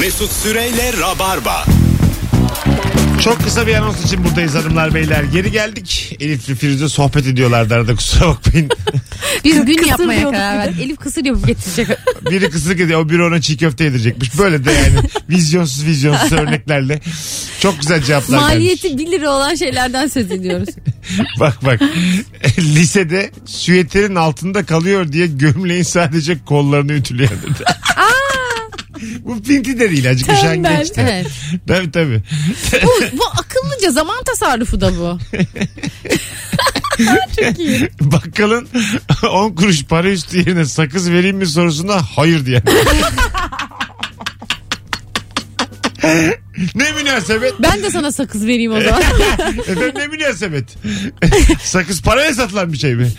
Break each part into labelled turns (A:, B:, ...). A: Mesut Süreyle Rabarba.
B: Çok kısa bir anons için buradayız hanımlar beyler. Geri geldik. Elif'le Firuze sohbet ediyorlardı arada kusura bakmayın.
C: Biz gün
D: Kısır
C: yapmaya
D: diyorduk
C: karar
D: bir de.
C: verdik. Elif kısır yapıp getirecek.
B: Biri kısık ediyor o biri ona çiğ köfte yedirecekmiş. Böyle de yani vizyonsuz vizyonsuz örneklerle. Çok güzel cevaplar gelmiş.
C: Maliyeti 1 lira olan şeylerden söz ediyoruz.
B: Bak bak. Lisede süyeterin altında kalıyor diye gömleğin sadece kollarını ütülüyor. Bu pinti de değil acık üşengeç de.
C: evet.
B: Tabii tabii.
C: Bu, bu akıllıca zaman tasarrufu da bu.
B: Bakkalın 10 kuruş para üstü yerine sakız vereyim mi sorusuna hayır diyen. ne münasebet?
C: Ben de sana sakız vereyim o zaman.
B: Efendim ne münasebet? sakız paraya satılan bir şey mi?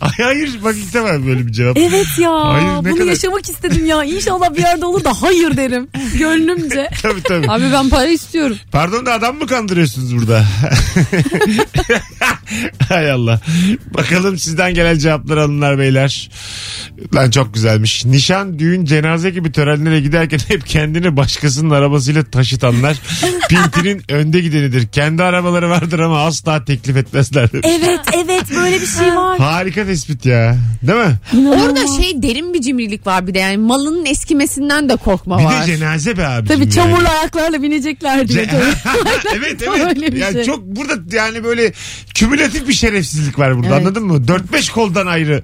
B: Ay hayır bak ilk defa böyle bir cevap.
D: Evet ya.
B: Hayır, ne
D: bunu
B: kadar-
D: yaşamak istedim ya. İnşallah bir yerde olur da hayır derim. Gönlümce.
B: tabii tabii.
C: Abi ben para istiyorum.
B: Pardon da adam mı kandırıyorsunuz burada? Hay Allah. Bakalım sizden gelen cevapları alınlar beyler. Lan çok güzelmiş. Nişan, düğün, cenaze gibi törenlere giderken hep kendini başkasının arabasıyla taşıtanlar pintinin önde gidenidir. Kendi arabaları vardır ama asla teklif etmezler. demiş.
D: Evet evet böyle bir şey var.
B: Harika tespit ya. Değil mi?
C: Orada şey derin bir cimrilik var bir de yani malının eskimesinden de korkma
B: Bir
C: var.
B: de cenaze be abicim.
D: Tabii
B: yani.
D: çamurlu ayaklarla binecekler diye.
B: Ce- evet
D: Tam
B: evet.
D: öyle bir
B: Yani
D: şey.
B: çok burada yani böyle kümülatif bir şerefsizlik var burada. Anladın mı? 4-5 koldan ayrı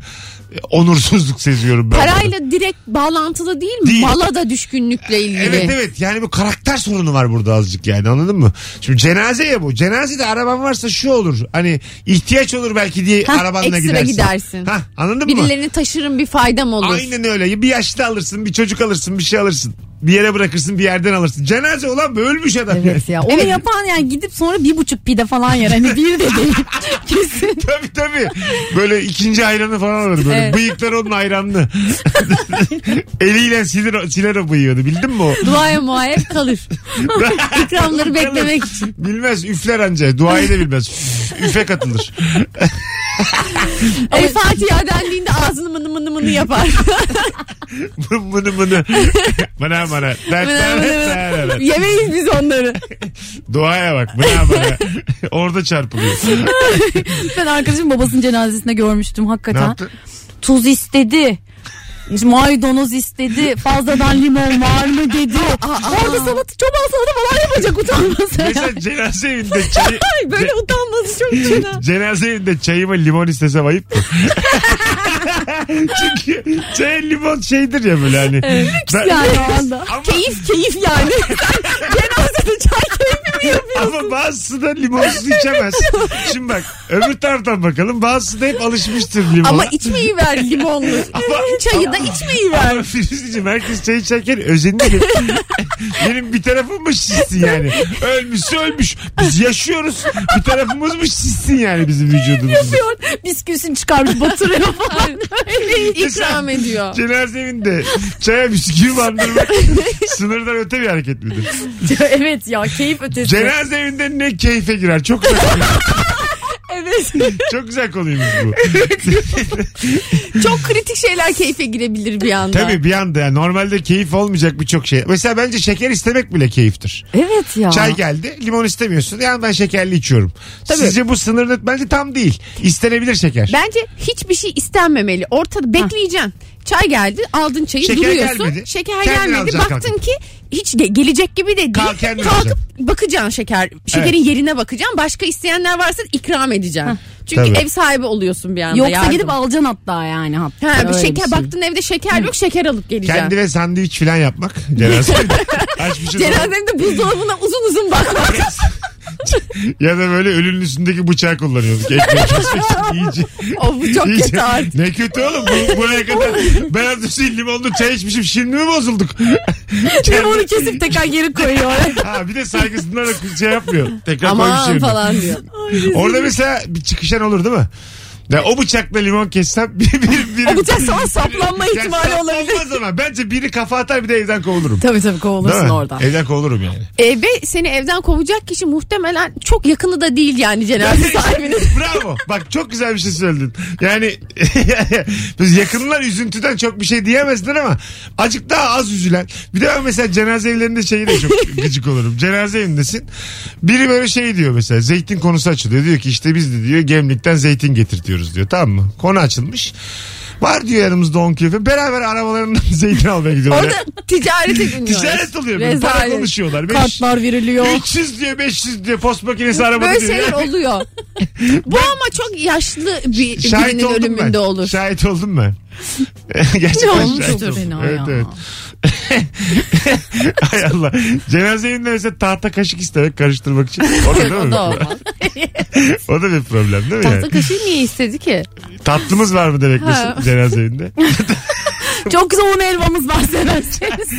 B: e, onursuzluk seziyorum ben. burada.
C: Parayla direkt bağlantılı değil mi?
B: Değil.
C: Mala da düşkünlükle ilgili.
B: Evet evet yani bu karakter sorunu var burada azıcık yani anladın mı? Şimdi cenaze ya bu. Cenazede araban varsa şu olur. Hani ihtiyaç olur belki diye
C: Hah,
B: arabanla
C: ekstra
B: gidersin.
C: gidersin.
B: Hah, anladın mı?
C: Birilerini taşırım bir faydam olur.
B: Aynen öyle. Bir yaşlı alırsın, bir çocuk alırsın, bir şey alırsın. Bir yere bırakırsın, bir yerden alırsın. Cenaze olan bu ölmüş adam. yani.
D: Evet ya. Onu yapan yani gidip sonra bir buçuk pide falan yer. Hani bir de değil. Kesin.
B: Tabii tabii. Böyle ikinci ayranı falan olur böyle.
C: Evet.
B: Bıyıklar onun ayranlı. Eliyle siler, siler o bıyığını bildin mi o?
C: Duaya muayep kalır. İkramları beklemek için.
B: Bilmez üfler anca. Duayı da bilmez. Üfe katılır.
C: El Fatiha dendiğinde ağzını mını mını mını yapar.
B: mını mını mını. Bana bana. Der, der, der, der.
C: Yemeyiz biz onları.
B: Duaya bak. Bana bana. Orada çarpılıyor.
D: Ben arkadaşım babasının cenazesinde görmüştüm
B: ne
D: hakikaten.
B: yaptı?
D: Tuz istedi. Maydanoz istedi. Fazladan limon var mı dedi. Orada salatı çoban salatı falan yapacak utanmasa.
B: Mesela cenaze evinde çay,
D: Ay böyle utanması çok fena.
B: cenaze evinde çayıma limon istesem ayıp mı? Çünkü çay limon şeydir ya böyle hani. Ben-
D: Yani o anda.
B: Ama-
D: Keyif keyif yani. Cenazede çay keyfi mi yapıyor?
B: Ama bazısı da limonsuz içemez. Şimdi bak öbür taraftan bakalım. Bazısı da hep alışmıştır limona.
C: Ama içmeyi ver limonlu.
B: Ama-
C: Çayı da içmeyi ver.
B: Ama Firuzeciğim herkes çay içerken özenli Benim bir tarafım mı şişsin yani? Ölmüşse ölmüş. Biz yaşıyoruz. Bir tarafımız mı şişsin yani bizim vücudumuz?
D: Yapıyor. Bisküvisini çıkarmış batırıyor falan.
C: İkram ediyor.
B: Cenaze evinde çaya bisküvi bandırmak sınırdan öte bir hareket midir?
D: evet ya keyif ötesi.
B: Cenaze evinde ne keyfe girer? Çok önemli.
D: evet.
B: Çok güzel konuymuş bu.
C: Çok kritik şeyler keyfe girebilir bir anda.
B: Tabii bir anda yani normalde keyif olmayacak birçok şey. Mesela bence şeker istemek bile keyiftir.
D: Evet ya.
B: Çay geldi limon istemiyorsun. Yani ben şekerli içiyorum. Sizce bu sınır net bence tam değil. İstenebilir şeker.
C: Bence hiçbir şey istenmemeli. Ortada bekleyeceksin. Çay geldi, aldın çayı,
B: Şeker
C: duruyorsun.
B: gelmedi.
C: Şeker
B: Kendin
C: gelmedi.
B: alacaksın
C: Baktın
B: kalkıp.
C: ki hiç ge- gelecek gibi de değil.
B: Kalk, kendin
C: Kalkıp
B: alacaksın.
C: bakacaksın şeker. Şekerin yerine bakacaksın. Başka isteyenler varsa ikram edeceksin. Çünkü
B: Tabii.
C: ev sahibi oluyorsun bir anda.
D: Yoksa
C: yardım.
D: gidip alacaksın hatta yani. Hatta.
C: Ha, bir
D: Öyle
C: şeker
D: şey.
C: baktın evde şeker yok, şeker alıp geleceksin.
B: Kendine şey sandviç falan yapmak. Cenaze. Açmışız
C: Cenazenin de buzdolabına uzun uzun bakmak.
B: Ya da böyle ölünün üstündeki bıçağı kullanıyorduk. Ekmek kesmek için iyice.
C: of bu çok
B: iyice-
C: kötü artık.
B: Ne kötü oğlum bu, buraya kadar. Ben az önce limonlu çay içmişim şimdi mi bozulduk?
D: Limonu kesip tekrar geri koyuyor.
B: ha, bir de saygısından da şey yapmıyor. Tekrar koymuş
C: Aman
B: yerine.
C: falan diyor.
B: Orada mesela bir çıkışan olur değil mi? Ya o bıçakla limon kessem bir, bir, bir,
D: O bıçak sana saplanma
B: Ya
D: ihtimali
B: saplanmaz
D: olabilir.
B: ama bence biri kafa atar bir de evden kovulurum.
D: Tabii tabii
B: Değil
D: kovulursun
B: mi?
D: oradan.
B: Evden kovulurum yani.
C: E, ve seni evden kovacak kişi muhtemelen çok yakını da değil yani cenaze sahibinin.
B: Bravo. Bak çok güzel bir şey söyledin. Yani biz yakınlar üzüntüden çok bir şey diyemezler ama azıcık daha az üzülen. Bir de ben mesela cenaze evlerinde şeyi de çok gıcık olurum. Cenaze evindesin. Biri böyle şey diyor mesela zeytin konusu açılıyor. Diyor ki işte biz de diyor Gemlik'ten zeytin getirtiyoruz diyor. Tamam mı? Konu açılmış. Var diyor yanımızda 10 kilo. falan. Beraber arabalarından zeytin almaya gidiyorlar.
C: Orada ticarete dönüyoruz.
B: Ticaret oluyor. böyle. Para
C: Rezalet.
B: konuşuyorlar. Beş-
D: Kartlar veriliyor.
B: 300 diyor 500 diyor post makinesi aramadı
C: Böyle
B: diyor.
C: şeyler oluyor. Bu ama çok yaşlı bir,
B: Şahit
C: birinin
B: oldum ben.
C: ölümünde olur.
B: Şahit oldum ben. Gerçekten
C: Ne
B: şahit
D: olmuştur
B: oldum.
D: fena
B: Evet
D: ya.
B: evet. Hay Allah. Cenaze evinde mesela tahta kaşık istemek karıştırmak için. O da değil mi?
C: O da olmaz.
B: O da bir problem değil mi?
C: Tahta
B: Yani?
C: kaşığı niye istedi ki?
B: Tatlımız var mı demek mesela
C: Ha.
B: cenaze evinde?
D: Çok güzel un helvamız var severseniz.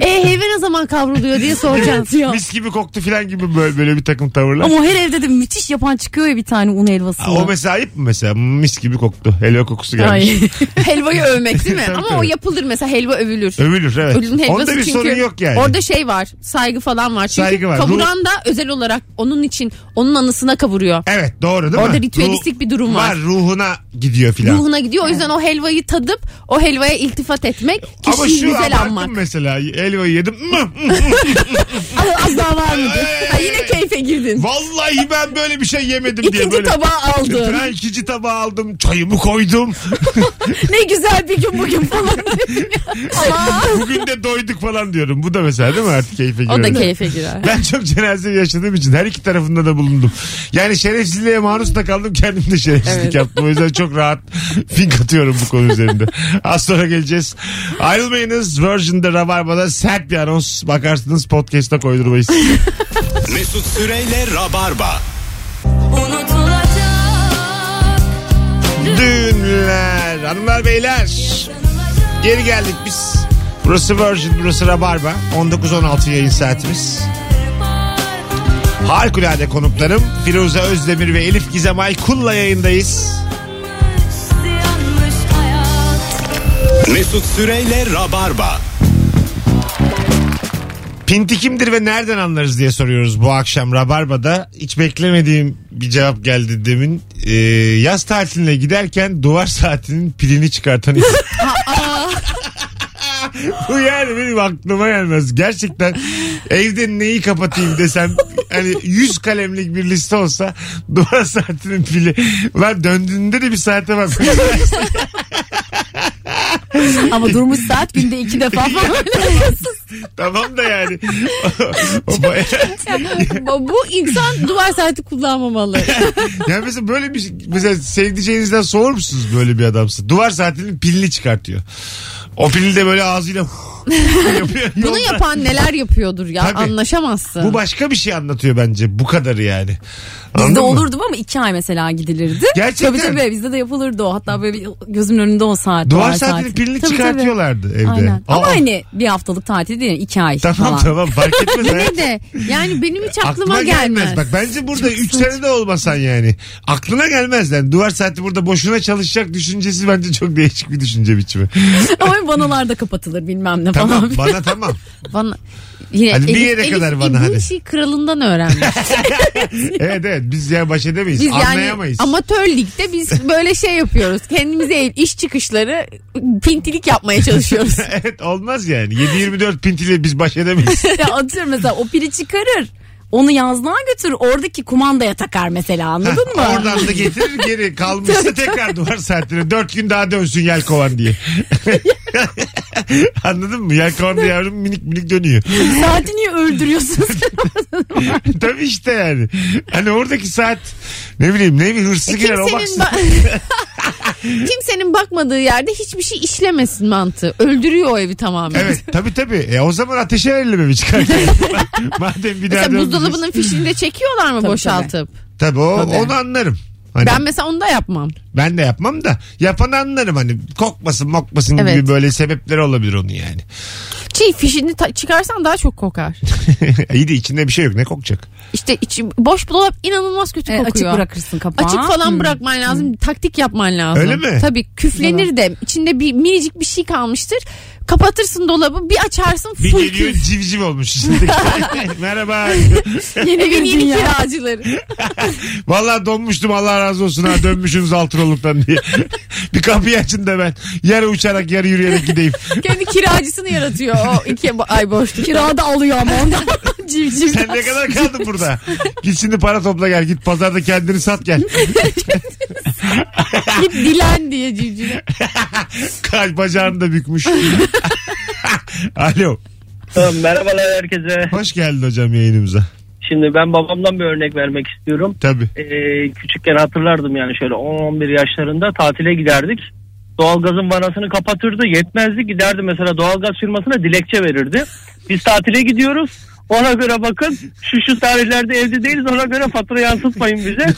C: E heyve ne zaman kavruluyor diye soracağız.
D: Yok.
B: Mis gibi koktu falan gibi böyle, böyle bir takım tavırlar.
D: Ama her evde de müthiş yapan çıkıyor ya bir tane un helvası.
B: Aa, o mesela ayıp mı mesela? Mis gibi koktu. Helva kokusu gelmiş.
D: Ay.
C: Helvayı övmek değil mi?
B: Tabii,
C: Ama
B: tabii.
C: o yapılır mesela helva övülür.
B: Övülür evet.
C: Ölünün helvası
B: Onda bir
C: çünkü
B: sorun yok yani.
C: Orada şey var saygı falan var. Çünkü
B: Saygı var.
C: kavuran da özel olarak onun için onun anısına kavuruyor.
B: Evet doğru değil mi?
C: Orada ritüelistik bir durum var.
B: Var ruhuna gidiyor filan.
C: Ruhuna gidiyor o yüzden o helvayı tadıp o helvaya iltifat etmek
B: Ama
C: kişiyi
B: şu
C: güzel
B: abarttım
C: anmak.
B: mesela helvayı yedim.
D: Az daha var mıydı?
C: Ha, yine keyfe girdin.
B: Vallahi ben böyle bir şey yemedim diye
D: İkinci
B: böyle.
D: tabağı aldı.
B: Ben ikinci tabağı aldım. Çayımı koydum.
D: ne güzel bir gün bugün falan. Ama
B: Bugün de doyduk falan diyorum. Bu da mesela değil mi artık keyfe
C: O
B: giriyor.
C: da keyfe girer.
B: Ben çok cenaze yaşadığım için her iki tarafında da bulundum. Yani şerefsizliğe maruz da kaldım kendim de şerefsizlik
C: Evet.
B: yaptım. O yüzden çok rahat fink atıyorum bu konu üzerinde. Az sonra geleceğiz. Ayrılmayınız. Virgin'de Rabarba'da sert bir anons. Bakarsınız podcast'a koydurmayız.
A: Mesut Süreyle Rabarba.
B: Düğünler. Hanımlar beyler. Geri geldik biz. Burası Virgin, burası Rabarba. 19-16 yayın saatimiz. Harikulade konuklarım Firuze Özdemir ve Elif Gizem Aykul'la yayındayız.
A: Mesut Süreyle Rabarba.
B: Pinti kimdir ve nereden anlarız diye soruyoruz bu akşam Rabarba'da. Hiç beklemediğim bir cevap geldi demin. Ee, yaz tatiline giderken duvar saatinin pilini çıkartan insan. Bu yani benim aklıma gelmez. Gerçekten evde neyi kapatayım desem hani 100 kalemlik bir liste olsa duvar saatinin pili. Ulan döndüğünde de bir saate bak.
D: ama durmuş saat günde iki defa falan.
B: tamam da yani. O bayağı-
C: Bu insan duvar saati kullanmamalı.
B: Ya mesela böyle bir şey, mesela sevdiceğinizden soğur musunuz böyle bir adamsa? Duvar saatinin pilini çıkartıyor. O pili de böyle ağzıyla yapıyor.
C: Bunu
B: Yolda-
C: yapan neler yapıyordur ya
B: Tabii.
C: anlaşamazsın.
B: Bu başka bir şey anlatıyor bence. Bu kadarı yani.
D: Bizde
B: Anladın mı?
D: olurdum ama iki ay mesela gidilirdi.
B: Gerçekten.
D: Tabii tabii bizde de yapılırdı o. Hatta böyle bir gözümün önünde o saat.
B: Duvar
D: duvar
B: saatinin
D: saati.
B: pilini
D: Tabii,
B: çıkartıyorlardı
D: tabii.
B: evde.
D: Aynen. Ama
B: Aa,
D: hani bir haftalık tatil değil iki ay
B: Tamam
D: falan.
B: tamam fark etmez.
C: Yine de yani benim hiç aklıma, gelmez.
B: Bak bence burada 3 sene de olmasan yani. Aklına gelmez yani. Duvar saati burada boşuna çalışacak düşüncesi bence çok değişik bir düşünce biçimi.
D: Ama vanalar da kapatılır bilmem ne
B: Tamam
D: falan.
B: bana tamam.
C: Bana, yine
B: Hadi bir yere kadar bana
C: bu
B: hadi.
C: işi kralından öğrenmiş.
B: Evet evet biz yani baş edemeyiz.
C: Biz yani
B: Anlayamayız.
C: amatör ligde biz böyle şey yapıyoruz. Kendimize ev- iş çıkışları pintilik yapmaya çalışıyoruz.
B: evet olmaz yani. 7-24 pintiyle biz baş edemeyiz.
D: Ya atıyorum mesela o pili çıkarır. Onu yazlığa götür. Oradaki kumandaya takar mesela anladın mı?
B: Oradan da getirir geri kalmışsa tekrar duvar saatine. 4 gün daha dönsün yelkovan diye. Anladın mı? Yelkovanda yavrum minik minik dönüyor.
D: Saati niye öldürüyorsunuz?
B: Tabii işte yani. Hani oradaki saat ne bileyim ne bir hırsız girer o
C: E, kimsenin,
B: baksın.
C: ba- kimsenin bakmadığı yerde hiçbir şey işlemesin mantığı. Öldürüyor o evi tamamen.
B: Evet tabii tabii. E, o zaman ateşe verelim evi çıkar. Madem bir daha
C: Mesela
B: dönmeyeceğiz.
C: buzdolabının fişini de çekiyorlar mı
D: Tabii,
C: boşaltıp?
B: Tabii, o,
D: Tabii.
B: onu anlarım. Hani
C: Ben
B: ben...
C: mesela onu da yapmam.
B: de yapmam da yapan anlarım hani kokmasın mokmasın
C: Evet.
B: gibi böyle sebepleri olabilir onun yani.
C: Çiğ Şey, fişini ta- çıkarsan daha çok kokar.
B: İyi de içinde bir şey yok ne kokacak?
C: İşte içi, boş dolap inanılmaz kötü
D: E,
C: kokuyor.
D: açık Hmm. bırakırsın kapağı.
C: Açık falan
B: Hmm.
C: bırakman lazım. Taktik yapman lazım.
B: Öyle mi?
C: Tabii küflenir de içinde bir minicik bir şey kalmıştır. Kapatırsın dolabı bir açarsın
B: Bir
C: full
B: geliyor
C: küf.
B: civciv olmuş içindeki. Merhaba.
C: Yeni gün yeni
D: Dünya.
C: kiracıları.
B: Vallahi donmuştum Allah razı olsun ha dönmüşsünüz altınoluktan diye. bir kapıyı açın da ben yarı uçarak yarı yürüyerek gideyim.
C: Kendi kiracısını yaratıyor o iki ay boşluk.
D: Kirada alıyor ama ondan civciv.
B: Sen ne kadar kaldın burada? Git şimdi para topla gel. Git pazarda kendini sat gel.
C: Git dilen diye civciv.
B: Kalp bacağını da bükmüş. Alo.
E: Merhabalar herkese.
B: Hoş geldin hocam yayınımıza.
E: Şimdi ben babamdan bir örnek vermek istiyorum.
B: Tabii.
E: Ee, küçükken hatırlardım yani şöyle 10-11 yaşlarında tatile giderdik. Doğalgazın vanasını kapatırdı. Yetmezdi giderdi mesela doğalgaz firmasına dilekçe verirdi. Biz tatile gidiyoruz. Ona göre bakın şu şu tarihlerde evde değiliz ona göre fatura yansıtmayın bize.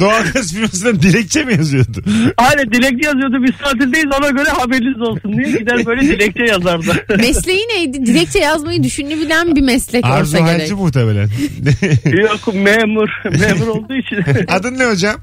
B: Doğalgaz firmasından dilekçe mi yazıyordu?
E: Aynen dilekçe yazıyordu biz tatildeyiz ona göre haberiniz olsun diye gider böyle dilekçe yazardı.
C: Mesleği neydi? Dilekçe yazmayı düşünebilen bir meslek
B: Arzu
C: olsa gerek.
B: Halci muhtemelen.
E: Yok memur memur olduğu için
B: Adın ne hocam?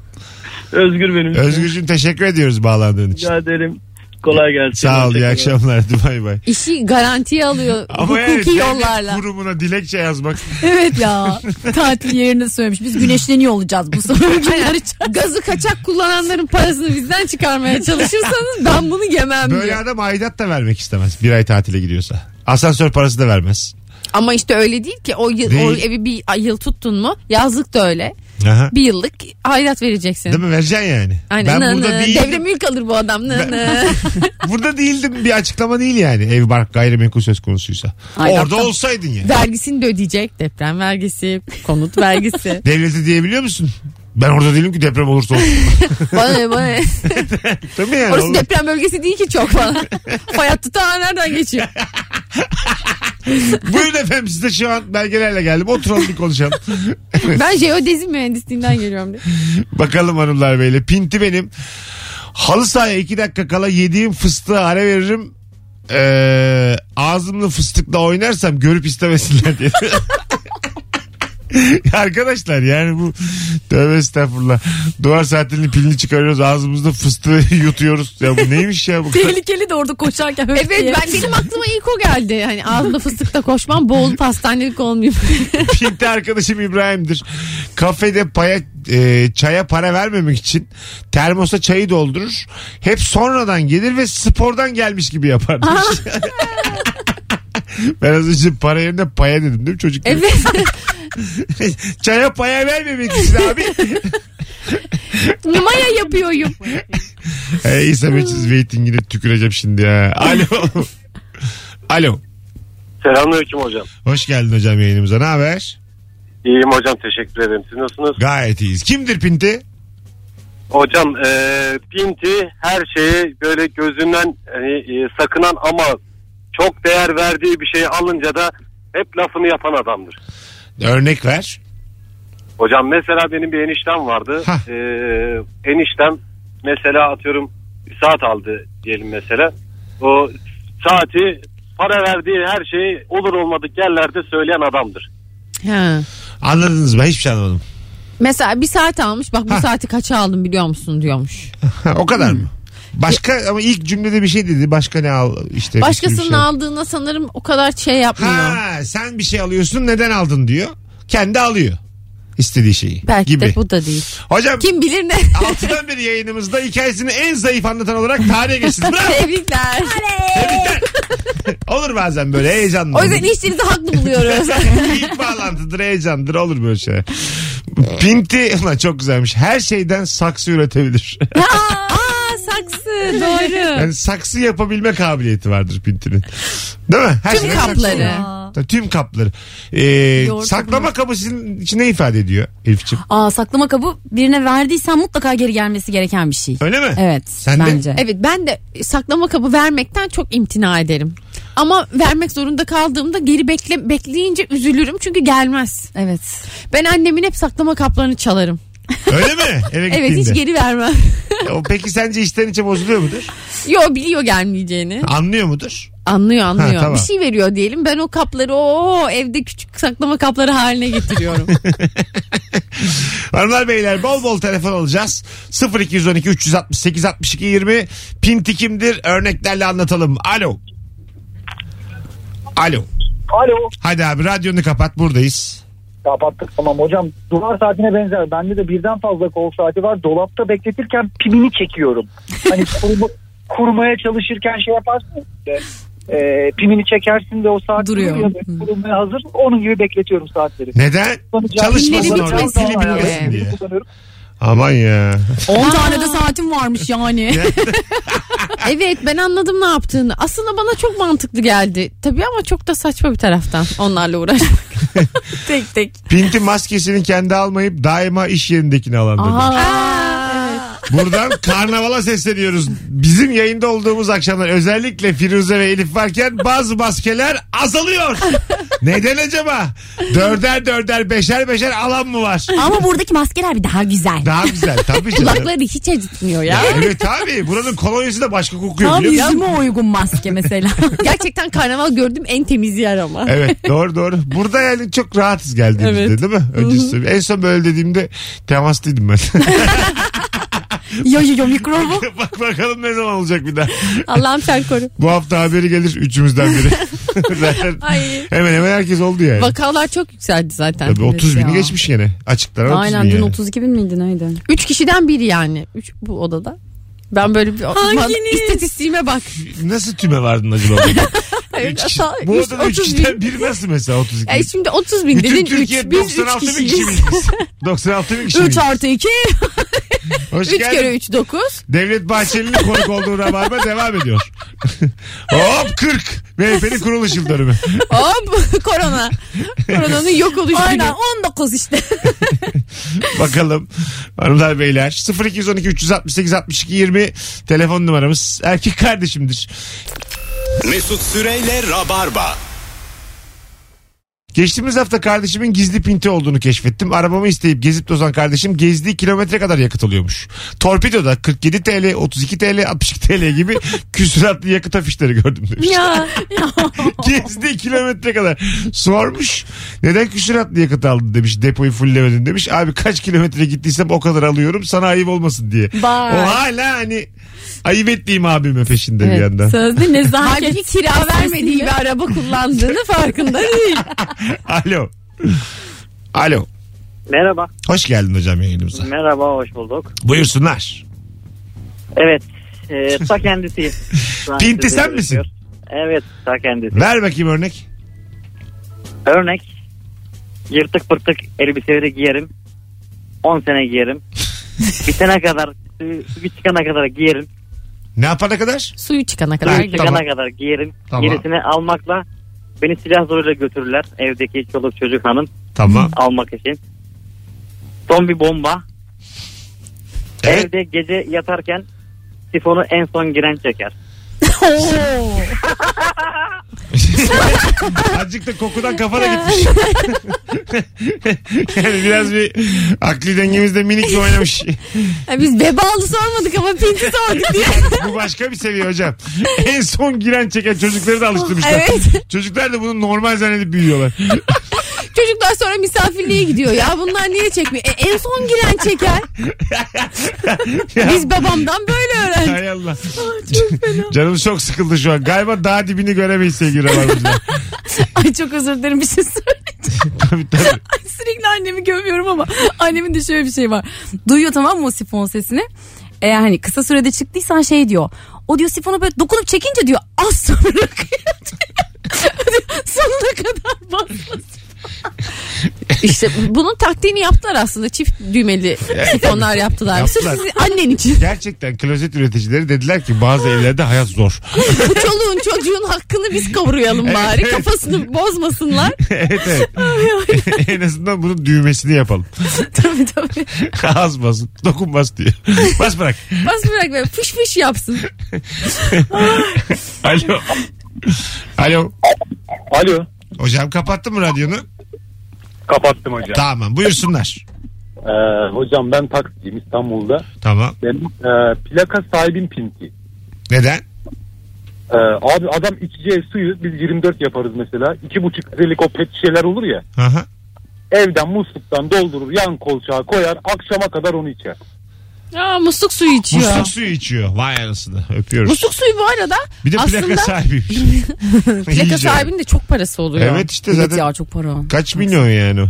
E: özgür benim.
B: Özgürcüğüm teşekkür ediyoruz bağlandığın için.
E: Rica ederim. Kolay gelsin.
B: Sağ ol iyi
E: Hoşçakalın.
B: akşamlar. Hadi bay bay.
C: İşi garantiye alıyor
B: Ama yani
C: hukuki
B: devlet
C: yollarla.
B: kurumuna dilekçe yazmak.
D: Evet ya. Tatil yerine söylemiş. Biz güneşleniyor olacağız bu son günler için.
C: Gazı kaçak kullananların parasını bizden çıkarmaya çalışırsanız ben bunu yemem
B: Böyle
C: diyor.
B: adam aidat da vermek istemez. Bir ay tatile gidiyorsa. Asansör parası da vermez.
C: Ama işte öyle değil ki. O, yıl, o
B: Değil.
C: evi bir ay- yıl tuttun mu? Yazlık da öyle.
B: Aha.
C: Bir yıllık aidat vereceksin.
B: Değil mi? Vereceksin yani.
C: Aynen.
B: Ben
C: nı
B: burada
C: nı.
B: değildim.
C: Devre mülk alır bu adam. Nı nı.
B: Burada değildim bir açıklama değil yani. Ev bark gayrimenkul söz konusuysa.
D: Aynen.
B: Orada olsaydın ya.
C: Vergisini de ödeyecek. Deprem vergisi, konut vergisi.
B: Devlete diyebiliyor musun? Ben orada değilim ki deprem olursa olsun.
C: bana ne, bana ne?
B: Değil mi yani?
C: Orası
B: Oğlum,
C: deprem bölgesi değil ki çok falan. Fay hattı ta nereden geçiyor?
B: Buyurun efendim siz de şu an belgelerle geldim. Oturalım bir konuşalım.
C: Ben jeodezi mühendisliğinden geliyorum diye.
B: Bakalım hanımlar böyle. Pinti benim. Halı sahaya iki dakika kala yediğim fıstığı ara veririm. Ee, ağzımla fıstıkla oynarsam görüp istemesinler diye. Arkadaşlar yani bu tövbe estağfurullah. Duvar saatinin pilini çıkarıyoruz ağzımızda fıstığı yutuyoruz. Ya bu neymiş ya bu?
D: Tehlikeli de orada koşarken.
C: Evet ben benim aklıma ilk o geldi. Hani ağzımda fıstıkla koşmam boğulup hastanelik olmayayım.
B: Pinti arkadaşım İbrahim'dir. Kafede paya, e, çaya para vermemek için termosa çayı doldurur. Hep sonradan gelir ve spordan gelmiş gibi yapar. demiş. ben az önce para yerine paya dedim değil mi çocuk? gibi?
C: evet.
B: Çaya paya vermemek için abi.
C: Numaya yapıyorum.
B: hey, İsmet'siz waiting'ine tüküreceğim şimdi ya. Alo. Alo.
F: Selamünaleyküm hocam.
B: Hoş geldin hocam yayınımıza. Ne haber?
F: İyiyim hocam teşekkür ederim. Siz nasılsınız?
B: Gayet iyiyiz. Kimdir Pinti?
F: Hocam eee, Pinti her şeyi böyle gözünden hani, e, sakınan ama çok değer verdiği bir şeyi alınca da hep lafını yapan adamdır.
B: Örnek ver.
F: Hocam mesela benim bir eniştem vardı.
B: Hah.
F: Eee, eniştem mesela atıyorum bir saat aldı diyelim mesela. O saati para verdiği her şeyi olur olmadık yerlerde söyleyen adamdır.
C: Ha.
B: Anladınız mı? Hiçbir şey anlamadım.
C: Mesela bir saat almış bak bu
B: Ha.
C: saati kaça aldım biliyor musun diyormuş.
B: Ha, o kadar mı? Başka ama ilk cümlede bir şey dedi. Başka ne al işte. bir
C: Başkasının
B: sürü şey.
C: aldığına sanırım o kadar şey yapmıyor.
B: Ha sen bir şey alıyorsun neden aldın diyor. Kendi alıyor istediği şeyi.
C: Belki
B: gibi.
C: de bu da değil.
B: Hocam
C: Kim bilir ne?
B: altıdan beri yayınımızda hikayesini en zayıf anlatan olarak tarihe geçti. Bravo.
C: Tebrikler.
B: Tebrikler. Olur bazen böyle heyecanlı.
C: o yüzden işlerinizi haklı buluyoruz.
B: İlk bağlantıdır heyecandır olur böyle şeyler. Pinti ulan çok güzelmiş. Her şeyden saksı üretebilir.
C: Aa saksı doğru.
B: Yani saksı yapabilme kabiliyeti vardır pintinin. Değil mi? Her
C: Tüm
B: şeyden saksı
C: kapları.
B: oluyor. Tabii, Tüm kapları. Ee,
D: Yoğurt
B: saklama kabı sizin için ne ifade ediyor Elif'ciğim?
D: Aa, saklama kabı birine verdiysen mutlaka geri gelmesi gereken bir şey.
B: Öyle mi?
D: Evet
B: Sen de-
D: bence.
C: Evet ben de saklama kabı vermekten çok imtina ederim. Ama vermek zorunda kaldığımda geri bekle, bekleyince üzülürüm çünkü gelmez.
D: Evet.
C: Ben annemin hep saklama kaplarını çalarım.
B: Öyle mi? Eve
C: Evet
B: gittiğinde.
C: hiç geri vermem.
B: O Peki sence içten içe bozuluyor mudur?
C: Yo biliyor gelmeyeceğini.
B: Anlıyor mudur?
C: Anlıyor anlıyor.
B: Ha, tamam.
C: Bir şey veriyor diyelim. Ben o kapları o evde küçük saklama kapları haline getiriyorum.
B: Hanımlar beyler bol bol telefon alacağız. 0212 368 62 20 Pinti kimdir örneklerle anlatalım. Alo. Alo.
G: Alo.
B: Hadi abi radyonu kapat buradayız.
G: Kapattık tamam hocam. Duvar saatine benzer. Bende de birden fazla kol saati var. Dolapta bekletirken pimini çekiyorum. Hani kurma- kurmaya çalışırken şey yaparsın ya işte. e, pimini çekersin de o saat
D: Duruyor.
G: ve Kurulmaya hazır. Onun gibi bekletiyorum saatleri.
B: Neden? Çalışmasın
C: Pilleri
B: orada.
C: bitmesin
B: Pili
C: diye.
B: bitmesin diye.
G: Kullanıyorum.
B: Aman ya.
D: 10 tane de saatim varmış yani.
C: evet ben anladım ne yaptığını. Aslında bana çok mantıklı geldi. Tabii ama çok da saçma bir taraftan onlarla uğraşmak. tek tek.
B: Pinti maskesini kendi almayıp daima iş yerindekini alan dedi. Buradan karnavala sesleniyoruz. Bizim yayında olduğumuz akşamlar özellikle Firuze ve Elif varken bazı maskeler azalıyor. Neden acaba? Dörder dörder beşer beşer alan mı var?
D: Ama buradaki maskeler bir daha güzel.
B: Daha güzel tabii canım.
C: Kulakları hiç acıtmıyor ya.
B: evet abi buranın kolonyası da başka kokuyor
D: Tam
B: biliyor musun?
D: yüzüme uygun maske mesela.
C: Gerçekten karnaval gördüğüm en temiz yer ama.
B: Evet doğru doğru. Burada yani çok rahatız geldiğimizde
C: Evet.
B: değil mi? Öncesi. En son böyle dediğimde temaslıydım ben.
D: yo yo yo mikrobu.
B: Bak bakalım ne zaman olacak bir daha.
C: Allah'ım sen koru.
B: Bu hafta haberi gelir üçümüzden biri. Zaten
C: Ay.
B: hemen hemen herkes oldu yani.
C: Vakalar çok yükseldi zaten.
B: Tabii 30
D: Evet
C: şey
B: bini
D: ya.
B: geçmiş gene. Açıklara 30
D: Aynen
B: bin
D: dün
B: yani.
D: 32 bin miydi neydi?
C: Üç kişiden biri yani. Üç bu odada. Ben böyle bir
D: Hanginiz?
C: istatistiğime bak.
B: Nasıl tüme vardın acaba?
C: Hayır,
B: Üç kişi.
C: ata-
B: Bu
C: üç-
B: odada 3
C: otuz
B: kişiden biri nasıl mesela 32?
C: E şimdi 30 bin
B: Bütün
C: dedin
B: Türkiye
C: 3. Biz 3
B: 96 bin kişi
C: kişiyiz.
B: miyiz? 96 bin kişi
D: 3
B: miyiz?
D: artı 2.
B: Hoş
C: 3
B: geldin.
C: kere 3 9.
B: Devlet Bahçeli'nin konuk olduğu rabarba devam ediyor. Hop 40. MHP'nin kuruluş yıl dönümü.
C: Hop korona. Koronanın yok oluşu
D: Aynen
C: günü.
D: 19 işte.
B: Bakalım hanımlar beyler 0212 368 62 20 telefon numaramız erkek kardeşimdir.
A: Mesut Süreyle Rabarba.
B: Geçtiğimiz hafta kardeşimin gizli pinti olduğunu keşfettim. Arabamı isteyip gezip tozan kardeşim gezdiği kilometre kadar yakıt alıyormuş. Torpidoda 47 TL, 32 TL, 62 TL gibi küsuratlı yakıt afişleri gördüm demiş.
C: Ya.
B: Gezdiği kilometre kadar. Sormuş neden küsuratlı yakıt aldın demiş. Depoyu fullemedin demiş. Abi kaç kilometre gittiysem o kadar alıyorum sana ayıp olmasın diye.
D: Bak.
B: O hala hani ayıp ettiğim abime peşinde bir yandan.
D: Sözde
C: Halbuki
D: nezaket.
C: kira vermediği bir araba kullandığını farkında değil.
B: Alo. Alo.
H: Merhaba.
B: Hoş geldin hocam yayınımıza.
H: Merhaba, hoş bulduk.
B: Buyursunlar.
H: Evet, e, ta kendisiyim. Şu an
B: Pinti
H: sizinle
B: sen misin?
H: görüşüyor. Evet, ta kendisi.
B: Ver bakayım örnek.
H: Örnek, yırtık pırtık elbiseleri giyerim. 10 sene giyerim. Bitene kadar, suyu suyu çıkana kadar giyerim.
B: Ne yapana kadar?
C: Suyu çıkana kadar.
H: Suyu
B: Ay,
H: çıkana
B: tamam.
H: kadar giyerim.
B: Tamam.
H: Gerisini almakla beni silah zoruyla götürürler. Evdeki çoluk çocuk hanım
B: Tamam.
H: almak için. Son bir bomba.
B: Evet.
H: Evde gece yatarken sifonu en son giren çeker.
B: Azıcık da kokudan kafana gitmiş. yani biraz bir akli dengemizde minik bir oynamış.
C: Ay, E, Biz vebalı sormadık ama pinti sorduk diye.
B: Bu başka bir seviye hocam. En son giren çeken çocukları da alıştırmışlar.
C: Evet.
B: Çocuklar da bunu normal zannedip büyüyorlar.
C: Çocuklar sonra misafirliğe gidiyor ya. Bunlar niye çekmiyor? E, en son giren çeker. Biz babamdan böyle öğrendik.
B: Hay Allah. Canım çok sıkıldı şu an. Galiba daha dibini göremeyiz sevgili Rabarbacılar.
D: Ay çok özür dilerim bir şey söyleyeceğim.
B: Tabii tabii.
D: Ay, Sürekli annemi gömüyorum ama annemin de şöyle bir şey var. Duyuyor tamam mı o sifon sesini? Eğer hani kısa sürede çıktıysan şey diyor. O diyor sifonu böyle dokunup çekince diyor az sonra akıyor diyor. Sonuna kadar basmasın.
C: İşte bunun taktiğini yaptılar aslında. Çift düğmeli sifonlar yaptılar.
B: Yaptılar.
C: Sırf sizin annen için.
B: Gerçekten klozet üreticileri dediler ki
C: Ah.
B: bazı evlerde hayat zor.
C: Bu çoluğun çocuğun hakkını biz kavuruyalım bari. Kafasını bozmasınlar.
B: evet evet. en azından bunun düğmesini yapalım.
D: tabii tabii.
B: Az basın. Dokunmaz diye. Bas bırak.
C: Bas bırak böyle fış fış yapsın.
B: Alo. Alo.
G: Alo.
B: Hocam kapattın mı radyonu?
G: Kapattım hocam.
B: Tamam buyursunlar.
G: Ee, hocam ben taksiciyim İstanbul'da.
B: Tamam.
G: Ee, Benim e, plaka sahibim Pinti.
B: Neden?
I: Ee, abi adam içeceği suyu biz 24 yaparız mesela. 2,5 litrelik o pet şişeler olur ya.
B: Aha.
I: Evden musluktan doldurur yan kolçağa koyar akşama kadar onu içer.
C: Aa, musluk suyu içiyor.
B: Musluk
C: Musluk,
B: suyu içiyor. Vay anasını. Öpüyoruz.
C: suyu bu arada
B: bir de plaka
C: aslında-
B: sahibiymiş.
C: plaka
B: İyice.
C: sahibinin de çok parası oluyor.
B: Evet işte
D: Evet
B: zaten
D: ya çok para.
B: kaç milyon yani o?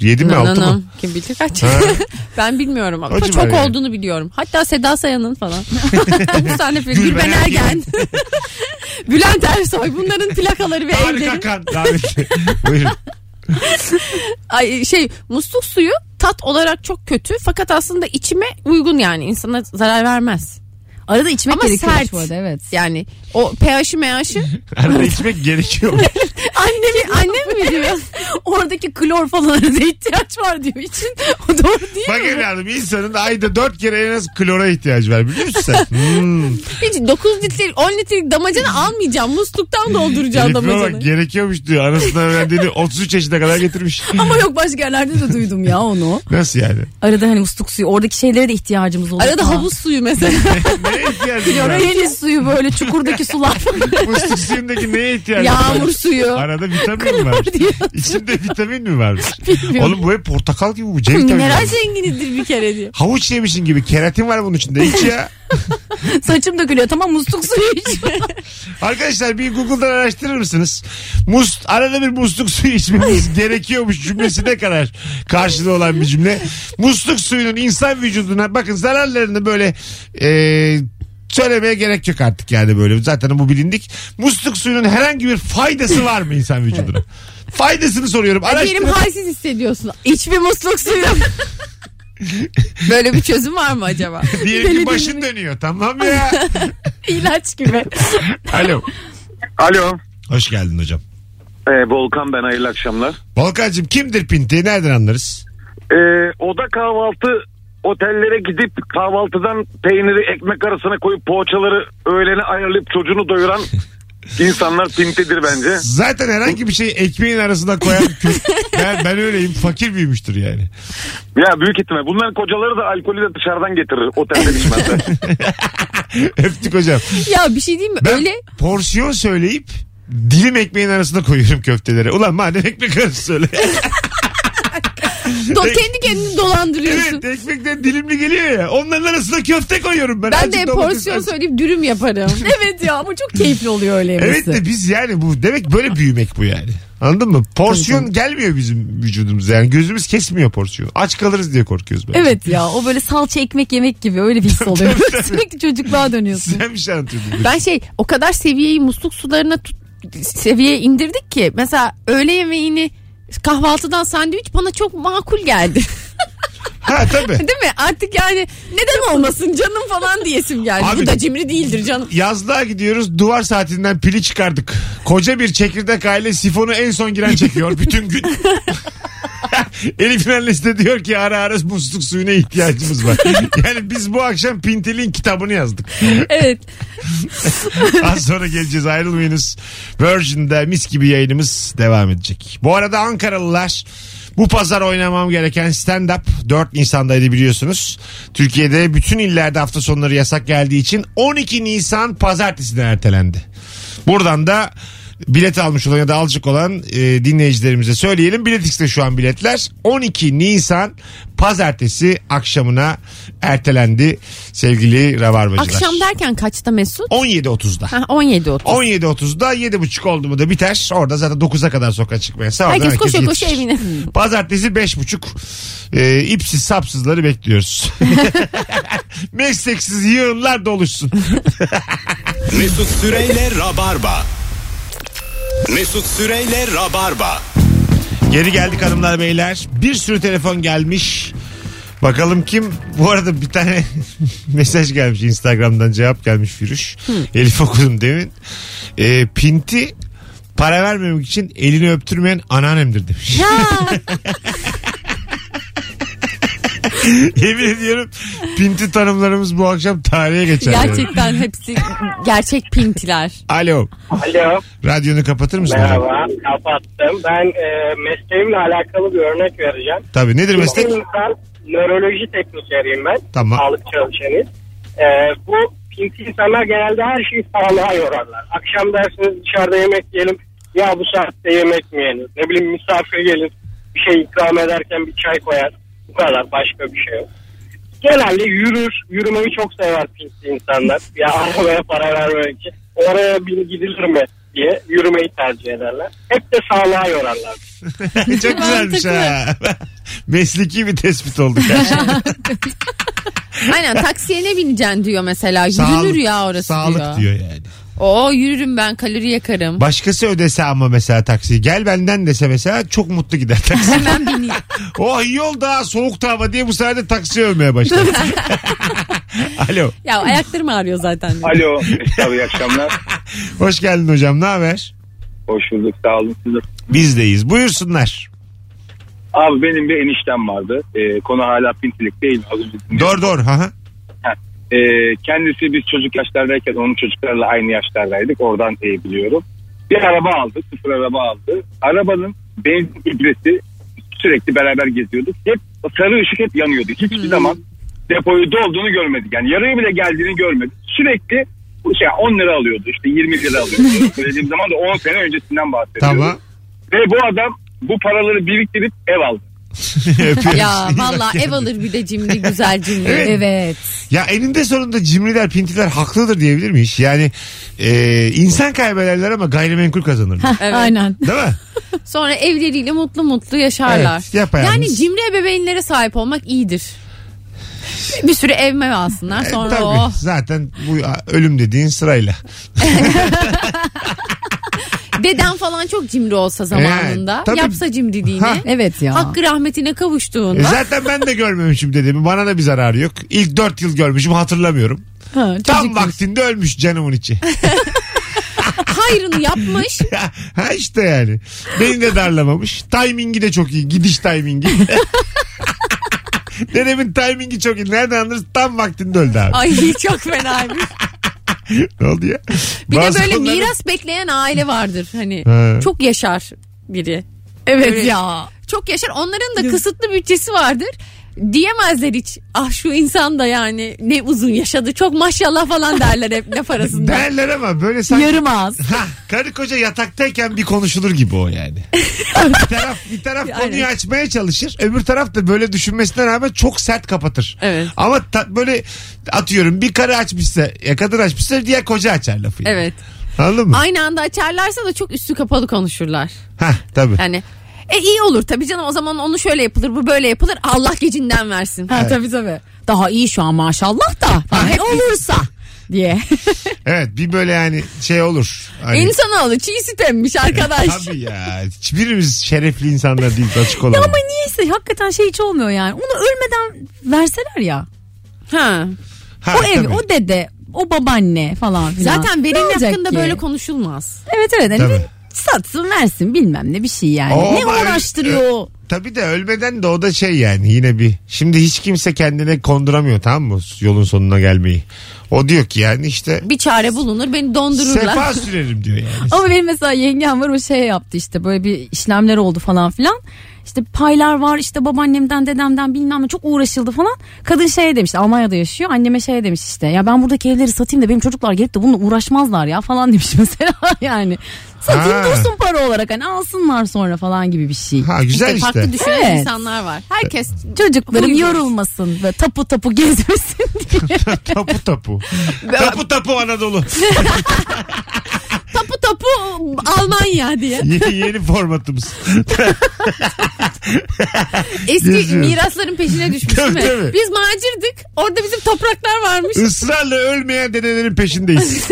B: 7 mi
C: Na-
B: 6
C: na-
B: mı?
C: na. Kim bilir kaç.
B: Ha.
C: ben bilmiyorum ama
B: O civar
C: çok
B: yani.
C: olduğunu biliyorum. Hatta Seda Sayan'ın falan. Bu sahne filmi.
B: Gülben
C: Gülben
B: Ergen.
C: Ergen. Bülent Ersoy bunların plakaları ve
B: Tarık
C: evleri.
B: Akan davetli. Buyurun.
C: Ay, şey musluk suyu tat olarak çok kötü fakat aslında içime uygun yani insana zarar vermez.
D: Arada içmek
C: Ama
D: gerekiyor
C: sert.
D: bu arada evet.
C: Yani o pH'i mH'i
B: Arada içmek gerekiyor.
C: annem, annem mi diyor?
D: Oradaki klor falan arada ihtiyaç var diyor için. O doğru değil
B: Bak
D: mi?
B: evladım insanın ayda 4 kere en az klora ihtiyacı var biliyor musun sen? Hmm.
C: Hiç 9 litrelik 10 litrelik damacana almayacağım. Musluktan dolduracağım
B: Elif'e bak
C: damacanayı.
B: gerekiyormuş diyor. Anasından öğrendiğini 33 yaşına kadar getirmiş.
D: Ama yok başka yerlerde de duydum ya onu.
B: Nasıl yani?
D: Arada hani musluk suyu oradaki şeylere de ihtiyacımız oluyor.
C: Arada havuz suyu mesela.
B: Neye ihtiyacın var?
D: Deniz suyu böyle çukurdaki sular.
B: Musluk suyundaki neye ihtiyacın var?
C: Yağmur suyu.
B: Arada vitamin mi var?
C: diyor.
B: İçinde vitamin mi varmış?
C: Bilmiyorum.
B: Oğlum bu hep portakal gibi bu. C vitamini
C: Mineral
B: varmış.
C: zenginidir bir kere diyor.
B: Havuç yemişin gibi keratin var bunun içinde. İç ya.
D: Saçım dökülüyor tamam musluk suyu iç.
B: Arkadaşlar bir Google'dan araştırır mısınız? Mus, arada bir musluk suyu içmemiz gerekiyormuş cümlesi ne kadar karşılığı olan bir cümle. Musluk suyunun insan vücuduna bakın zararlarını böyle e, söylemeye gerek yok artık yani böyle. Zaten bu bilindik. Musluk suyunun herhangi bir faydası var mı insan vücuduna? Faydasını soruyorum.
C: Diyelim
B: Araştırın.
C: halsiz hissediyorsun. İç bir musluk suyu. Böyle bir çözüm var mı acaba?
B: Diyelim ki başın dönüyor. Tamam ya.
C: İlaç gibi.
B: Alo.
J: Alo. E,
B: Hoş geldin hocam.
J: Volkan ben hayırlı akşamlar.
B: Volkan'cığım kimdir Pinti? Nereden anlarız?
J: Ee, oda kahvaltı otellere gidip kahvaltıdan peyniri ekmek arasına koyup poğaçaları öğlene ayarlayıp çocuğunu doyuran insanlar pintidir bence.
B: Zaten herhangi bir şeyi ekmeğin arasına koyan kö- ben, ben öyleyim fakir büyümüştür yani.
J: Ya büyük ihtimal. Bunların kocaları da alkolü de dışarıdan getirir otelden içmezler.
B: Öptük hocam.
C: Ya bir şey diyeyim mi?
B: Ben
C: Öyle
B: porsiyon söyleyip dilim ekmeğin arasına koyuyorum köftelere. Ulan madem ekmek arası söyle.
C: do- kendi kendini dolandırıyorsun.
B: evet ekmekten dilimli geliyor ya. Onların arasına köfte koyuyorum ben.
C: Ben
B: Azıcık
C: de
B: domates,
C: porsiyon
B: azıcık-
C: söyleyip dürüm yaparım.
D: evet ya ama çok keyifli oluyor öyle yemesi.
B: Evet de biz yani bu demek böyle büyümek bu yani. Anladın mı? Porsiyon gelmiyor bizim vücudumuza yani gözümüz kesmiyor porsiyonu. Aç kalırız diye korkuyoruz bence.
D: Evet ya o böyle salça ekmek yemek gibi öyle bir his oluyor. Sürekli çocukluğa dönüyorsun.
B: Sen bir şey anlatıyordun.
C: Ben şey o kadar seviyeyi musluk sularına tut, seviyeye indirdik ki mesela öğle yemeğini kahvaltıdan sandviç bana çok makul geldi.
B: Ha tabii.
C: Değil mi? Artık yani neden olmasın canım falan diyesim geldi.
B: Abi-
C: Bu da cimri değildir canım.
B: Yazlığa gidiyoruz duvar saatinden pili çıkardık. Koca bir çekirdek aile sifonu en son giren çekiyor bütün gün. Elif'in annesi de diyor ki ara ara musluk suyuna ihtiyacımız var. yani biz bu akşam Pintel'in kitabını yazdık.
D: Evet.
B: Az sonra geleceğiz ayrılmayınız. Virgin'de mis gibi yayınımız devam edecek. Bu arada Ankaralılar bu pazar oynamam gereken stand-up 4 Nisan'daydı biliyorsunuz. Türkiye'de bütün illerde hafta sonları yasak geldiği için 12 Nisan pazartesine ertelendi. Buradan da bilet almış olan ya da alacak olan e, dinleyicilerimize söyleyelim. Bilet X'te şu an biletler. 12 Nisan pazartesi akşamına ertelendi sevgili Rabarbacılar.
C: Akşam derken kaçta Mesut?
B: 17.30'da.
C: Ha, 17.30.
B: 17.30'da 7.30 oldu mu da biter. Orada zaten 9'a kadar sokağa çıkmaya. Sağ olun,
C: Herkes koşa koşa
B: yetişir.
C: evine.
B: Hmm. Pazartesi 5.30 e, ipsiz sapsızları bekliyoruz. Mesleksiz yığınlar doluşsun.
A: Mesut Süreyle Rabarba. Mesut Süreyle Rabarba.
B: Geri geldik hanımlar beyler. Bir sürü telefon gelmiş. Bakalım kim? Bu arada bir tane mesaj gelmiş Instagram'dan cevap gelmiş Firuş. Elif okudum demin. E, pinti para vermemek için elini öptürmeyen anneannemdir demiş. Yemin ediyorum pinti tanımlarımız bu akşam tarihe geçer. yani.
C: Gerçekten hepsi gerçek pintiler.
B: Alo.
E: Alo.
B: Radyonu kapatır mısın? hocam?
E: Merhaba. Kapattım. Ben e, mesleğimle alakalı bir örnek vereceğim.
B: Tabii nedir meslek?
E: İnsan nöroloji teknikeriyim ben.
B: Tamam.
E: Sağlık çalışanıyım. E, bu
K: pinti insanlar genelde her şeyi sağlığa yorarlar. Akşam dersiniz dışarıda yemek yiyelim. Ya bu saatte yemek mi yenir? Ne bileyim misafir gelir. Bir şey ikram ederken bir çay koyar. Bu kadar başka bir şey yok. Genelde yürür. Yürümeyi çok sever pinti insanlar. Ya arabaya para vermemek için. Oraya bir gidilir mi diye yürümeyi tercih ederler. Hep de sağlığa yorarlar.
B: Çok güzelmiş ha. Mesleki bir tespit şey. oldu gerçekten.
C: Aynen taksiye ne bineceksin diyor mesela. Yürünür
B: Sağlık-
C: ya orası
B: Sağlık diyor yani.
C: Oo yürürüm ben kalori yakarım.
B: Başkası ödese ama mesela taksiyi. Gel benden dese mesela çok mutlu gider taksi.
C: Hemen bineyim.
B: oh iyi oldu ha soğuktu hava diye bu sefer de taksiye övmeye başladı. Alo.
C: ya ayaklarım ağrıyor zaten. diyor.
L: Alo. Tabii iyi akşamlar.
B: Hoş geldin hocam ne haber?
L: Hoş bulduk. Sağ olun. Siz de-
B: Bizdeyiz. Buyursunlar.
L: Abi benim bir eniştem vardı. Ee, konu hala pintilik değil. Az önce dinledim.
B: Doğru doğru. Ha ha.
L: Ee, kendisi biz çocuk yaşlardayken onun çocuklarla aynı yaşlardaydık. Oradan iyi biliyorum. Bir araba aldı. Sıfır araba aldı. Arabanın benzin ibresi sürekli beraber geziyorduk. Hep sarı ışık hep yanıyordu. Hiçbir zaman depoyu dolduğunu görmedik. Yani yarıya bile geldiğini görmedik. Sürekli bu şey 10 lira alıyordu işte 20 lira alıyordu. Söylediğim zaman da 10 sene öncesinden bahsediyorum.
B: Tamam.
L: Ve bu adam bu paraları biriktirip ev aldı.
B: Öpüyoruz.
C: Ya valla ev alır bir de cimri güzel cimri.
B: Evet.
D: Evet.
B: Ya eninde sonunda cimriler pintiler haklıdır diyebilir miyiz? Yani e, insan kaybederler ama gayrimenkul kazanırlar.
C: Evet.
D: Aynen.
B: Değil mi?
C: Sonra evleriyle mutlu mutlu yaşarlar.
B: Evet, yapayalnız.
C: yani cimri ebeveynlere sahip olmak iyidir. Bir sürü ev mev alsınlar
B: E,
C: sonra
B: tabii.
C: o.
B: Zaten bu a, ölüm dediğin sırayla.
C: Deden falan çok cimri olsa
B: Evet,
C: zamanında.
B: tabii.
C: yapsa cimriliğini.
B: Ha.
D: Evet ya.
C: Hakkı rahmetine
B: E,
C: kavuştuğunda.
B: zaten ben de görmemişim dedemi. Bana da bir zararı yok. İlk 4 yıl görmüşüm hatırlamıyorum.
C: Ha,
B: Tam
C: çocuk-
B: vaktinde ölmüş canımın içi.
C: Hayrını yapmış.
B: ha işte yani. Beni de darlamamış. Timingi de çok iyi. Gidiş timingi. Dedemin timingi çok iyi. Nereden anlarız? Tam vaktinde öldü abi.
C: Ay çok fenaymış.
B: Ne oldu ya?
C: Bir
B: Bazı
C: de böyle
B: konularda-
C: miras bekleyen aile vardır hani.
B: He.
C: Çok yaşar biri.
D: Evet
C: Öyle.
D: ya.
C: Çok yaşar. Onların da kısıtlı bütçesi vardır. Diyemezler hiç. Ah şu insan da yani ne uzun yaşadı. Çok maşallah falan derler hep laf arasında.
B: Derler ama böyle sanki
D: Yarım ağız.
B: Ha, karı koca yataktayken bir konuşulur gibi o yani. bir taraf, bir taraf konuyu açmaya çalışır. Öbür taraf da böyle düşünmesine rağmen çok sert kapatır.
C: Evet.
B: Ama ta- böyle atıyorum bir karı açmışsa ya kadın açmışsa diğer koca açar lafı. yani.
C: Evet.
B: Anladın mı?
C: Aynı anda açarlarsa da çok üstü kapalı konuşurlar.
B: Ha tabii.
C: Yani e iyi olur tabii canım o zaman onu şöyle yapılır bu böyle yapılır Allah gecinden versin.
D: Ha, Tabii tabii. Daha iyi şu an maşallah da. Hani olursa diye.
B: Evet bir böyle yani şey olur. Hani-
C: İnsanoğlu çiğ süt emmiş arkadaş.
B: Tabii ya. Hiçbirimiz şerefli insanlar değiliz açık olalım.
D: Ama niyeyse hakikaten şey hiç olmuyor yani. Onu ölmeden verseler ya.
C: ha.
B: Ha,
D: o ev,
B: tabii.
D: o dede, o babaanne falan filan.
C: Zaten
D: Ne
C: verin
D: olacak
C: hakkında
D: ki?
C: böyle konuşulmaz.
D: Evet evet. Hani
B: Tabii. Oh
D: bir satsın versin bilmem ne bir şey yani.
B: Oo,
D: ne
B: ama-
D: uğraştırıyor o?
B: Tabii de ölmeden de o da şey yani yine bir. Şimdi hiç kimse kendine konduramıyor tamam mı yolun sonuna gelmeyi. O diyor ki yani işte
C: Bir çare bulunur beni dondururlar.
B: sefa sürerim diyor yani.
D: Ama benim mesela yengem var o şey yaptı işte böyle bir işlemler oldu falan filan. İşte paylar var işte babaannemden dedemden bilmem ne çok uğraşıldı falan. Kadın şey demiş Almanya'da yaşıyor anneme şey demiş işte ya ben buradaki evleri satayım da benim çocuklar gelip de bununla uğraşmazlar ya falan demiş mesela yani. Satayım
B: Ha.
D: dursun para olarak hani alsınlar sonra falan gibi bir şey.
B: Ha güzel
C: İşte
B: işte.
C: Farklı düşünen
D: Evet.
C: insanlar var. Herkes
D: Çocuklarım
C: Buyurun.
D: yorulmasın ve tapu tapu gezmesin diye.
B: tapu tapu. tapu tapu Anadolu.
C: tapu tapu Almanya diye.
B: yeni, yeni formatımız.
C: Eski
B: Geziyoruz.
C: mirasların peşine düşmüş değil
B: Tabii,
C: mi?
B: tabii.
C: Biz macirdik. Orada bizim topraklar varmış.
B: Israrla ölmeyen dedelerin peşindeyiz.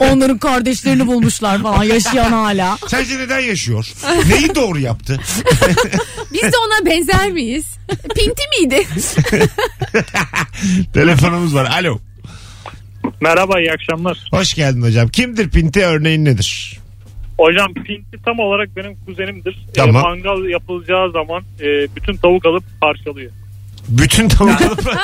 D: Onların kardeşlerini bulmuşlar falan yaşayan hala.
B: Sence neden yaşıyor? Neyi doğru yaptı?
C: Biz de ona benzer miyiz? Pinti miydi?
B: Telefonumuz var. Alo.
E: Merhaba iyi akşamlar.
B: Hoş geldin hocam. Kimdir Pinti örneğin nedir?
E: Hocam pinti tam olarak benim kuzenimdir.
B: Tamam.
E: E, mangal yapılacağı zaman e, bütün tavuk alıp parçalıyor.
B: Bütün tavuk alıp
C: Aa,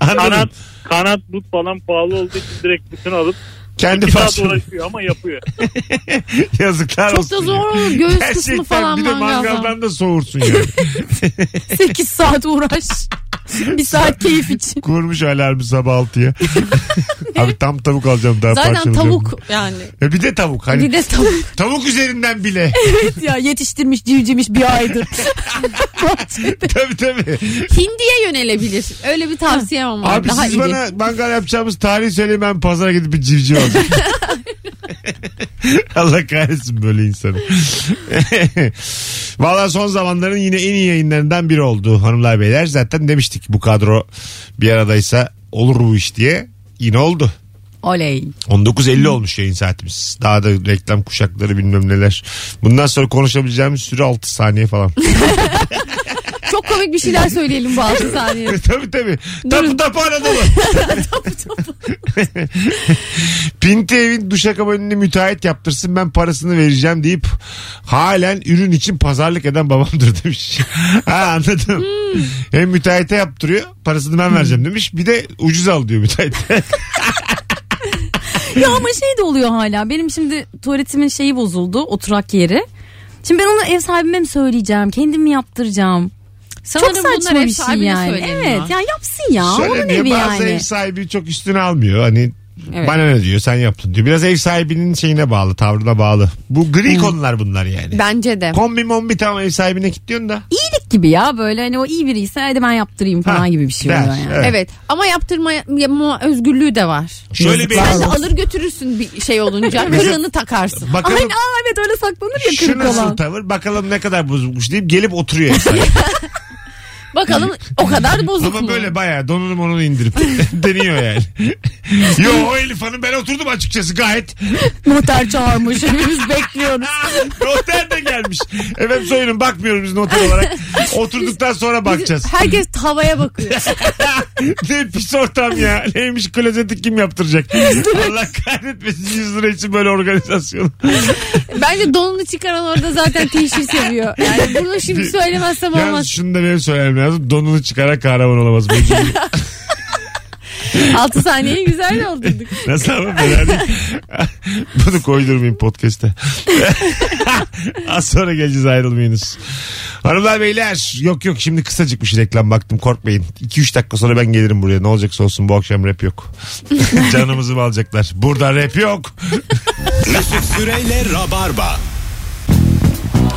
B: anladım.
E: Kanat, kanat but falan pahalı olduğu için direkt bütün alıp
B: Kendi
M: İki saat
B: parçanı.
M: uğraşıyor ama yapıyor.
B: Yazıklar
C: Çok da
B: olsun.
C: zor olur. Göğüs kısmı
B: Gerçekten
C: falan
B: bir de
C: mangaldan.
B: mangaldan da soğursun yani.
C: 8 saat uğraş. bir saat keyif için.
B: Kurmuş alarmı sabah 6'ya. Abi tam tavuk alacağım daha
C: Zaten
B: parçalayacağım.
C: tavuk yani.
B: E bir de tavuk. Hani
C: Bir de tavuk.
B: Tavuk üzerinden bile.
D: evet ya yetiştirmiş civcivmiş bir aydır.
B: tabii tabii.
C: Hindiye yönelebilir. Öyle bir tavsiyem var.
B: Abi
C: Daha
B: siz
C: iyi.
B: bana mangal yapacağımız tarihi söyleyin ben pazara gidip bir civciv alacağım. Allah kahretsin böyle insanı. Valla son zamanların yine en iyi yayınlarından biri oldu hanımlar beyler. Zaten demiştik bu kadro bir aradaysa olur bu iş diye. Yine oldu.
D: Oley.
B: 19.50 olmuş yayın saatimiz. Daha da reklam kuşakları bilmem neler. Bundan sonra konuşabileceğimiz süre 6 saniye falan.
C: Çok komik bir şeyler söyleyelim bu 6 saniye.
B: tabii tabii. Tapu tapu Anadolu. Pinti evin duşakabinini müteahhit yaptırsın ben parasını vereceğim deyip halen ürün için pazarlık eden babamdır demiş. ha anladım.
D: Hmm.
B: Hem müteahhite yaptırıyor parasını ben vereceğim demiş. Bir de ucuz al diyor müteahhite.
D: ya ama şey de oluyor hala. Benim şimdi tuvaletimin şeyi bozuldu. Oturak yeri. Şimdi ben onu ev sahibime mi söyleyeceğim? Kendim mi yaptıracağım?
C: Sanırım
D: Çok
C: bunlar
D: saçma
C: ev
D: bir şey
C: sahibine
D: yani.
C: söyleniyor.
D: Evet ya yapsın ya. Onun
B: Söylemiyor
D: evi
B: bazı
D: yani.
B: ev sahibi çok üstüne almıyor. Hani
D: Evet.
B: bana ne diyor sen yaptın diyor. Biraz ev sahibinin şeyine bağlı tavrına bağlı. Bu gri
D: Hmm.
B: konular bunlar yani.
C: Bence de.
B: Kombi mombi tamam ev sahibine kilitliyorsun da.
D: İyilik gibi ya böyle hani o iyi biriyse hadi ben yaptırayım falan
B: Ha,
D: gibi bir şey
B: der,
D: oluyor yani.
B: evet.
C: Evet. ama yaptırma yapma özgürlüğü de var.
B: Şöyle bir-
C: Sen de alır götürürsün bir şey olunca.
B: Mesela-
C: Kırığını takarsın. Ah,
B: Bakalım-
D: Aynen, aa evet öyle saklanır ya
B: Şu
D: kırık
B: nasıl
D: olan.
B: tavır bakalım ne kadar bozulmuş deyip gelip oturuyor ev sahibi.
C: Bakalım o kadar bozuk
B: Ama
C: mu?
B: böyle bayağı donunu monunu indirip deniyor yani. Yo o Elif Hanım ben oturdum açıkçası gayet.
D: Noter çağırmış hepimiz bekliyoruz.
B: Noter de gelmiş. Efendim soyunun bakmıyorum biz noter olarak. Oturduktan sonra bakacağız.
C: Herkes havaya bakıyor.
B: ne pis ortam ya. Neymiş klozeti kim yaptıracak? Allah kahretmesin 100 lira için böyle organizasyon.
C: Bence donunu çıkaran orada zaten teşhir seviyor. Yani bunu şimdi söylemezsem
B: Yalnız
C: olmaz.
B: şunu da benim söylemem lazım. Donunu çıkarak kahraman olamaz. Bu cümle-
C: 6 saniyeyi güzel doldurduk.
B: Nasıl ama fena değil. Bunu koydurmayayım podcast'te. Az sonra geleceğiz ayrılmayınız. Hanımlar beyler yok yok şimdi kısacık bir şey reklam baktım korkmayın. 2-3 dakika sonra ben gelirim buraya ne olacaksa olsun bu akşam rap yok. Canımızı mı alacaklar? Burada rap yok.
A: Mesut Süreyle Rabarba.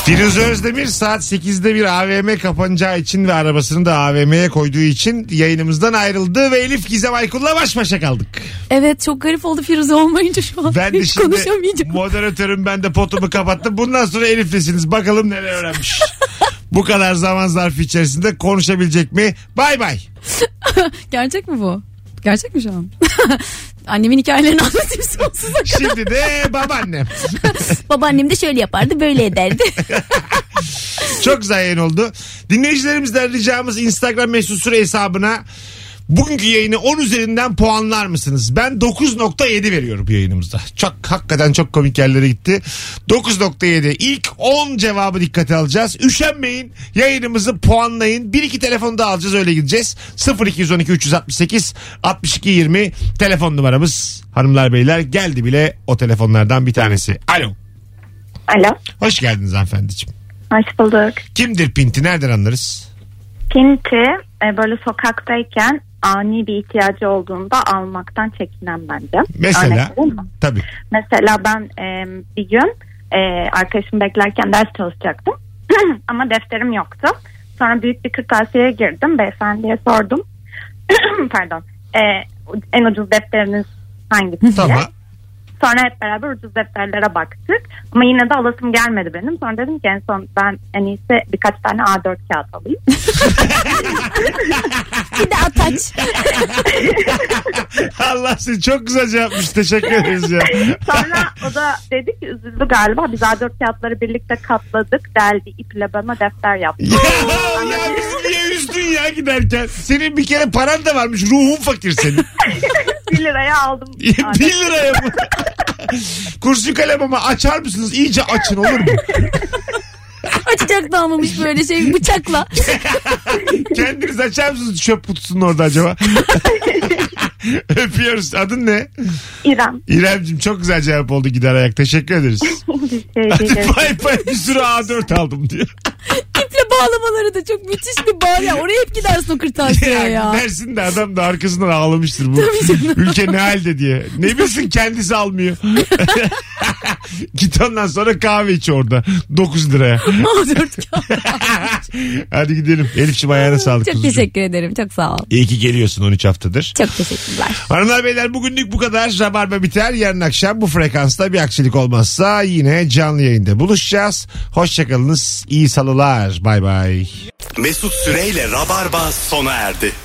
B: Firuze Özdemir saat 8'de bir AVM kapanacağı için ve arabasını da AVM'ye koyduğu için yayınımızdan ayrıldı ve Elif Gizem Aykul'la baş başa kaldık.
D: Evet çok garip oldu Firuze olmayınca şu an.
B: Ben de
D: Hiç
B: şimdi
D: konuşamayacağım.
B: moderatörüm ben de potumu kapattım. Bundan sonra Elif'lesiniz. Bakalım neler öğrenmiş. Bu kadar zaman zarfı içerisinde konuşabilecek mi? Bay bay.
D: Gerçek mi bu? Gerçek mi şu an? Annemin hikayelerini anlatayım sonsuza kadar.
B: Şimdi de babaannem.
D: Babaannem de şöyle yapardı böyle ederdi.
B: Çok güzel yayın oldu. Dinleyicilerimizden ricamız Instagram mesut süre hesabına bugünkü yayını 10 üzerinden puanlar mısınız? Ben 9.7 veriyorum yayınımızda. Çok hakikaten çok komik yerlere gitti. 9.7 ilk 10 cevabı dikkate alacağız. Üşenmeyin yayınımızı puanlayın. Bir iki telefonu da alacağız öyle gideceğiz. 0212 368 62 20 telefon numaramız hanımlar beyler geldi bile o telefonlardan bir tanesi. Alo.
N: Alo.
B: Hoş geldiniz hanımefendiciğim.
N: Hoş bulduk.
B: Kimdir Pinti nereden anlarız?
N: Pinti e, böyle sokaktayken ani bir ihtiyacı olduğunda almaktan çekinen bence.
B: Mesela?
N: Örnek vereyim mi?
B: Tabii.
N: Mesela ben e, bir gün e, arkadaşım beklerken ders çalışacaktım. Ama defterim yoktu. Sonra büyük bir kırtasiyeye girdim. Beyefendiye sordum. Pardon. E, en ucuz defteriniz hangisi? diye.
B: Tamam.
N: Sonra hep beraber ucuz defterlere baktık. Ama yine de alasım gelmedi benim. Sonra dedim ki en son ben en iyisi birkaç tane A4 kağıt alayım.
D: Bir de ataç.
B: Allah seni çok güzel cevapmış. Teşekkür ederiz ya.
N: Sonra o da dedi ki üzüldü galiba. Biz A4 kağıtları birlikte katladık. Deldi iple bana defter yaptı.
B: ya Allah bizi niye üzdün ya giderken? Senin bir kere paran da varmış. Ruhun fakir senin.
N: 1 liraya aldım.
B: 1 liraya mı? Kurşun kalem ama açar mısınız? İyice açın olur mu?
D: Açacak da almamış böyle şey bıçakla.
B: Kendiniz açar mısınız çöp kutusunu orada acaba? Öpüyoruz. Adın ne?
N: İrem.
B: İremcim çok güzel cevap oldu gider ayak. Teşekkür ederiz.
N: Bir şey
B: Hadi
N: değil.
B: bay bay bir sürü A4 aldım diyor.
D: İple bağlamaları da çok müthiş bir bağ ya. Oraya hep gidersin o kırtasiyeye Şey ya.
B: Dersin de adam da arkasından ağlamıştır bu. Ülke ne halde diye. Ne bilsin kendisi almıyor. Git ondan sonra kahve iç orada. 9 liraya. Hadi gidelim. Elif'ciğim ayağına sağlık.
D: Çok
B: kuzucuğum.
D: teşekkür ederim. Çok sağ ol.
B: İyi ki geliyorsun 13 haftadır.
D: Çok teşekkürler.
B: Hanımlar beyler bugünlük bu kadar. Rabarba biter. Yarın akşam bu frekansta bir aksilik olmazsa yine canlı yayında buluşacağız. Hoşçakalınız. İyi salılar. Bay bay.
A: Mesut Süreyle Rabarba sona erdi.